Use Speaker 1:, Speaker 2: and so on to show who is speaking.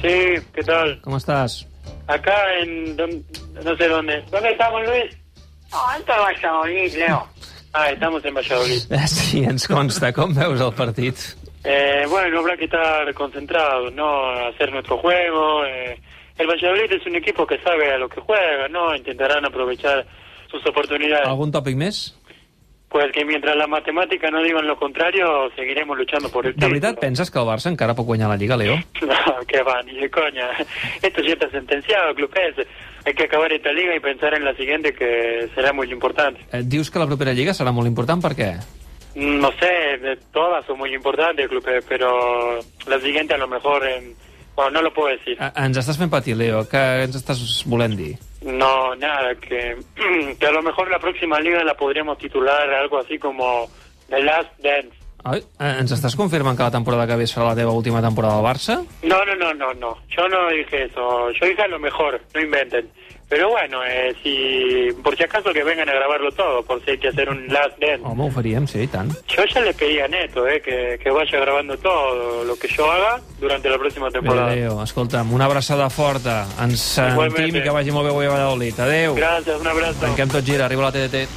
Speaker 1: Sí, ¿qué tal?
Speaker 2: ¿Cómo estás?
Speaker 1: Acá en... don- no sé dónde. ¿Dónde estamos, Luis?
Speaker 3: No, esto vaya a morir, Leo.
Speaker 1: Ah, estamos en Valladolid.
Speaker 2: Eh, Sí, ens consta. Com veus el partit?
Speaker 1: Eh, bueno, habrá que estar concentrados, ¿no? Hacer nuestro juego. eh. El Valladolid es un equipo que sabe a lo que juega, ¿no? Intentarán aprovechar sus oportunidades.
Speaker 2: Algun tòpic més?
Speaker 1: Pues que mientras las matemáticas no digan lo contrario, seguiremos luchando por el
Speaker 2: De
Speaker 1: título.
Speaker 2: veritat penses que el Barça encara pot guanyar la Lliga, Leo?
Speaker 1: No, que va, ni de coña. Esto ya está sentenciado, clubes. Hay que acabar esta liga y pensar en la siguiente que será muy importante. Mm,
Speaker 2: Eh, Dius que la propera Lliga serà molt important, per què? Eh,
Speaker 1: No sé, de- todas son muy importantes, clubes, pero la siguiente a lo mejor... em, bueno, no lo puedo decir.
Speaker 2: Eh, Ens estàs fent patir, Leo. Què ens estàs volent dir?
Speaker 1: No, nada, que, que a lo mejor la próxima liga la podríamos titular algo así como The Last Dance.
Speaker 2: Oi? Eh, Ens estàs confirmant que la temporada que ve serà la teva última temporada al Barça?
Speaker 1: No, no, no, no, no. Yo no dije eso. Yo dije a lo mejor, no inventen. Pero bueno, eh, si por si acaso que vengan a grabarlo todo, por si hay que hacer un last dance.
Speaker 2: Home, ho faríem, sí, i tant.
Speaker 1: Yo ya le pedí a Neto eh, que, que vaya grabando todo lo que yo haga durante la próxima
Speaker 2: Bé,
Speaker 1: temporada.
Speaker 2: Leo, escolta'm, una abraçada forta. Ens sentim
Speaker 1: Igualment,
Speaker 2: i
Speaker 1: eh?
Speaker 2: que vagi molt bé avui a Valladolid. Adéu.
Speaker 1: Gracias, un abrazo.
Speaker 2: Tanquem tot gira, arriba la TDT.